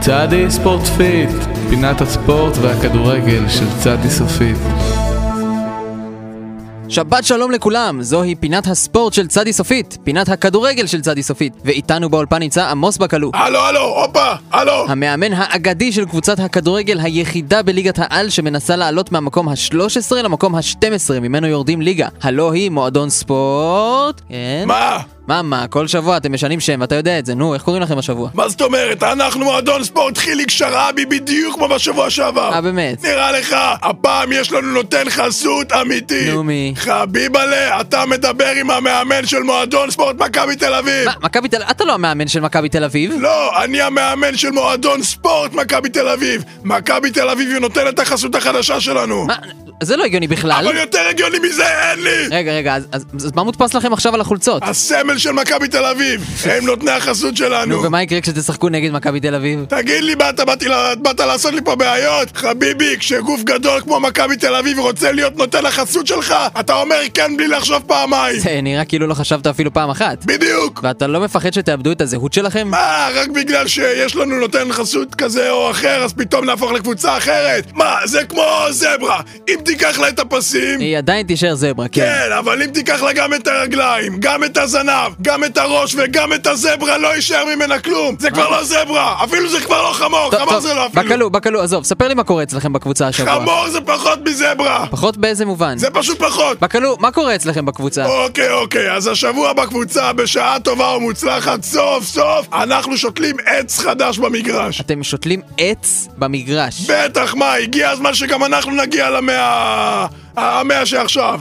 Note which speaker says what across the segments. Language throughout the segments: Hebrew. Speaker 1: צעדי ספורט פיט, פינת הספורט והכדורגל של צעדי סופית.
Speaker 2: שבת שלום לכולם, זוהי פינת הספורט של צדי סופית, פינת הכדורגל של צדי סופית, ואיתנו באולפן נמצא עמוס בקלו,
Speaker 3: הלו, הלו, הופה, הלו!
Speaker 2: המאמן האגדי של קבוצת הכדורגל היחידה בליגת העל שמנסה לעלות מהמקום ה-13 למקום ה-12 ממנו יורדים ליגה, הלא היא מועדון ספורט... כן?
Speaker 3: מה?
Speaker 2: מה, מה, כל שבוע אתם משנים שם, ואתה יודע את זה, נו, איך קוראים לכם השבוע?
Speaker 3: מה זאת אומרת? אנחנו מועדון ספורט חיליק שרעבי בדיוק כמו בשבוע שעבר!
Speaker 2: אה, באמת?
Speaker 3: נראה לך, הפעם יש לנו נותן חסות אמיתי!
Speaker 2: נו, מי?
Speaker 3: חביבלה, אתה מדבר עם המאמן של מועדון ספורט מכבי תל אביב!
Speaker 2: מה, מכבי תל... אתה לא המאמן של מכבי תל אביב?
Speaker 3: לא, אני המאמן של מועדון ספורט מכבי תל אביב! מכבי תל אביב היא נותנת את החסות החדשה שלנו!
Speaker 2: מה, זה לא הגיוני בכלל.
Speaker 3: אבל יותר הגיוני מזה אין לי!
Speaker 2: רגע, רגע, אז, אז, אז מה מודפס לכם עכשיו על החולצות?
Speaker 3: הסמל של מכבי תל אביב! הם נותני החסות שלנו!
Speaker 2: נו, ומה יקרה כשתשחקו נגד מכבי תל אביב?
Speaker 3: תגיד לי, מה אתה באתי לה- באת לעשות לי פה בעיות? חביבי, כשגוף גדול כמו מכבי תל אביב רוצה להיות נותן החסות שלך, אתה אומר כן בלי לחשוב פעמיים.
Speaker 2: זה נראה כאילו לא חשבת אפילו פעם אחת.
Speaker 3: בדיוק.
Speaker 2: ואתה לא מפחד שתאבדו את הזהות שלכם?
Speaker 3: מה, רק בגלל שיש לנו נותן חסות כזה או אחר, אז פתאום נהפוך לקבוצה אחרת? מה, זה כמו זברה. אם תיקח לה את הפסים...
Speaker 2: היא עדיין תישאר זברה, כן.
Speaker 3: כן, אבל אם תיקח לה גם את הרגליים, גם את הזנב, גם את הראש וגם את הזברה, לא יישאר ממנה כלום! זה כבר לא זברה! אפילו זה כבר לא חמור! חמור זה לא אפילו!
Speaker 2: בקלו, בקלו, עזוב, ספר לי מה קורה אצלכם בקבוצה השבוע.
Speaker 3: חמור זה פחות מזברה!
Speaker 2: פחות באיזה מובן?
Speaker 3: זה פשוט פחות!
Speaker 2: בקלו, מה קורה אצלכם בקבוצה?
Speaker 3: אוקיי, אוקיי, אז השבוע בקבוצה, בשעה טובה ומוצלחת, סוף סוף, אנחנו שותלים עץ חדש במגרש.
Speaker 2: אתם שותלים עץ במגרש.
Speaker 3: בטח, מה, הגיע הזמן שגם אנחנו נגיע למאה... המאה שעכשיו.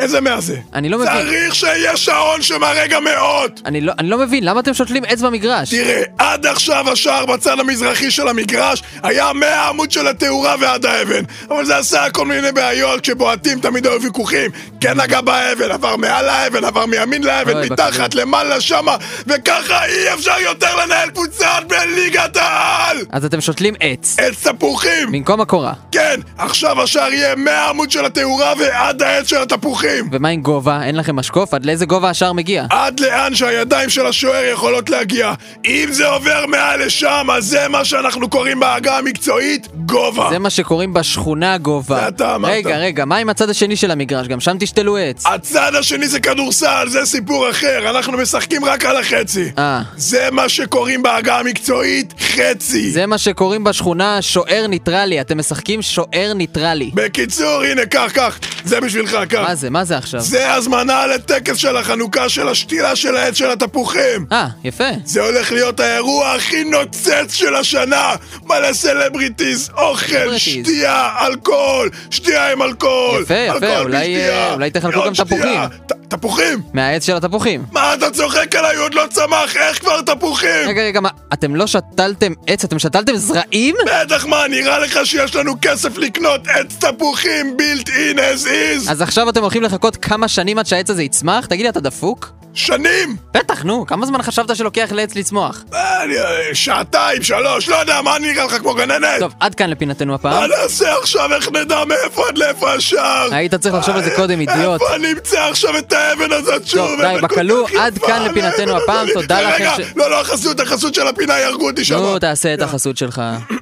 Speaker 3: איזה מאה זה?
Speaker 2: אני לא מבין.
Speaker 3: צריך שיהיה שעון שמראה גם מאות!
Speaker 2: אני לא, אני לא מבין, למה אתם שותלים עץ במגרש?
Speaker 3: תראה, עד עכשיו השער בצד המזרחי של המגרש היה מהעמוד של התאורה ועד האבן. אבל זה עשה כל מיני בעיות, כשבועטים תמיד היו ויכוחים. כן נגע באבן, עבר מעל האבן, עבר מימין לאבן,
Speaker 2: אוי,
Speaker 3: מתחת,
Speaker 2: בכדור.
Speaker 3: למעלה, שמה, וככה אי אפשר יותר לנהל קבוצה בליגת העל!
Speaker 2: אז אתם שותלים עץ.
Speaker 3: עץ תפוחים!
Speaker 2: במקום הקורה.
Speaker 3: כן, עכשיו השער יהיה מהעמוד של התאורה ועד העץ של התפוחים!
Speaker 2: ומה עם גובה? אין לכם משקוף? עד לאיזה גובה השער מגיע?
Speaker 3: עד לאן שהידיים של השוער יכולות להגיע. אם זה עובר מעל לשם, אז זה מה שאנחנו קוראים בעגה המקצועית גובה.
Speaker 2: זה מה שקוראים בשכונה גובה.
Speaker 3: זה אתה אמרת. אה,
Speaker 2: רגע, רגע, מה עם הצד השני של המגרש? גם שם תשתלו עץ.
Speaker 3: הצד השני זה כדורסל, זה סיפור אחר, אנחנו משחקים רק על החצי.
Speaker 2: אה.
Speaker 3: זה מה שקוראים בעגה המקצועית חצי.
Speaker 2: זה מה שקוראים בשכונה שוער ניטרלי, אתם משחקים שוער ניטרלי.
Speaker 3: בקיצור, הנה, קח, קח, זה בשבילך, קח.
Speaker 2: מה זה, מה זה עכשיו?
Speaker 3: זה הזמנה לטקס של החנוכה של השתילה של העץ של התפוחים.
Speaker 2: אה, יפה.
Speaker 3: זה הולך להיות האירוע הכי נוצץ של השנה! מלא סלבריטיז, אוכל,
Speaker 2: סלבריטיז.
Speaker 3: שתייה, אלכוהול, שתייה עם אלכוהול!
Speaker 2: יפה, יפה,
Speaker 3: אלכוהול
Speaker 2: אולי,
Speaker 3: בלי שתייה,
Speaker 2: אה, אולי תחלקו
Speaker 3: עוד
Speaker 2: גם
Speaker 3: שתייה.
Speaker 2: תפוחים.
Speaker 3: ת- תפוחים?
Speaker 2: מהעץ של התפוחים.
Speaker 3: מה אתה צוחק עליי? הוא עוד לא צמח, איך כבר תפוחים?
Speaker 2: רגע, רגע, מה, אתם לא שתלתם עץ, אתם שתלתם זרעים?
Speaker 3: בטח מה, נראה לך שיש לנו כסף לקנות עץ תפוחים built in as is?
Speaker 2: אז עכשיו אתם הולכים לחכות כמה שנים עד שהעץ הזה יצמח? תגיד לי, אתה דפוק?
Speaker 3: שנים!
Speaker 2: בטח, נו, כמה זמן חשבת שלוקח לעץ לצמוח?
Speaker 3: אה, אני- אה, שעתיים, שלוש, לא יודע, מה נראה לך כמו גננת?
Speaker 2: טוב, עד כאן לפינתנו הפעם.
Speaker 3: מה נעשה עכשיו? איך נדע מאיפה עד לאיפה השער? אה,
Speaker 2: היית צריך לחשוב על זה קודם, אידיוט.
Speaker 3: איפה אני אמצא עכשיו את האבן הזאת שוב?
Speaker 2: טוב, די,
Speaker 3: אבן כל
Speaker 2: בקלו,
Speaker 3: כך יפה,
Speaker 2: עד כאן לפינתנו
Speaker 3: האבן
Speaker 2: הפעם,
Speaker 3: הזאת.
Speaker 2: תודה לכם
Speaker 3: רגע,
Speaker 2: ש-
Speaker 3: לא, לא, החסות, החסות של הפינה יהרגו אותי שם.
Speaker 2: נו, תעשה את החסות שלך.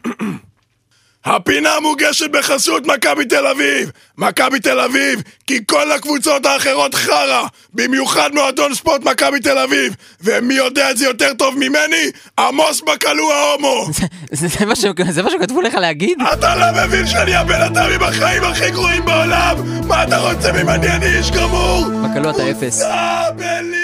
Speaker 3: הפינה מוגשת בחסות מכבי תל אביב! מכבי תל אביב, כי כל הקבוצות האחרות חרא! במיוחד מועדון ספורט מכבי תל אביב! ומי יודע את זה יותר טוב ממני? עמוס בקלו ההומו!
Speaker 2: זה- זה מה ש- זה מה שכתבו לך להגיד?
Speaker 3: אתה לא מבין שאני הבן אדם עם החיים הכי גרועים בעולם? מה אתה רוצה ממני? אני איש גמור!
Speaker 2: בקלו אתה אפס.
Speaker 3: אה, בלי!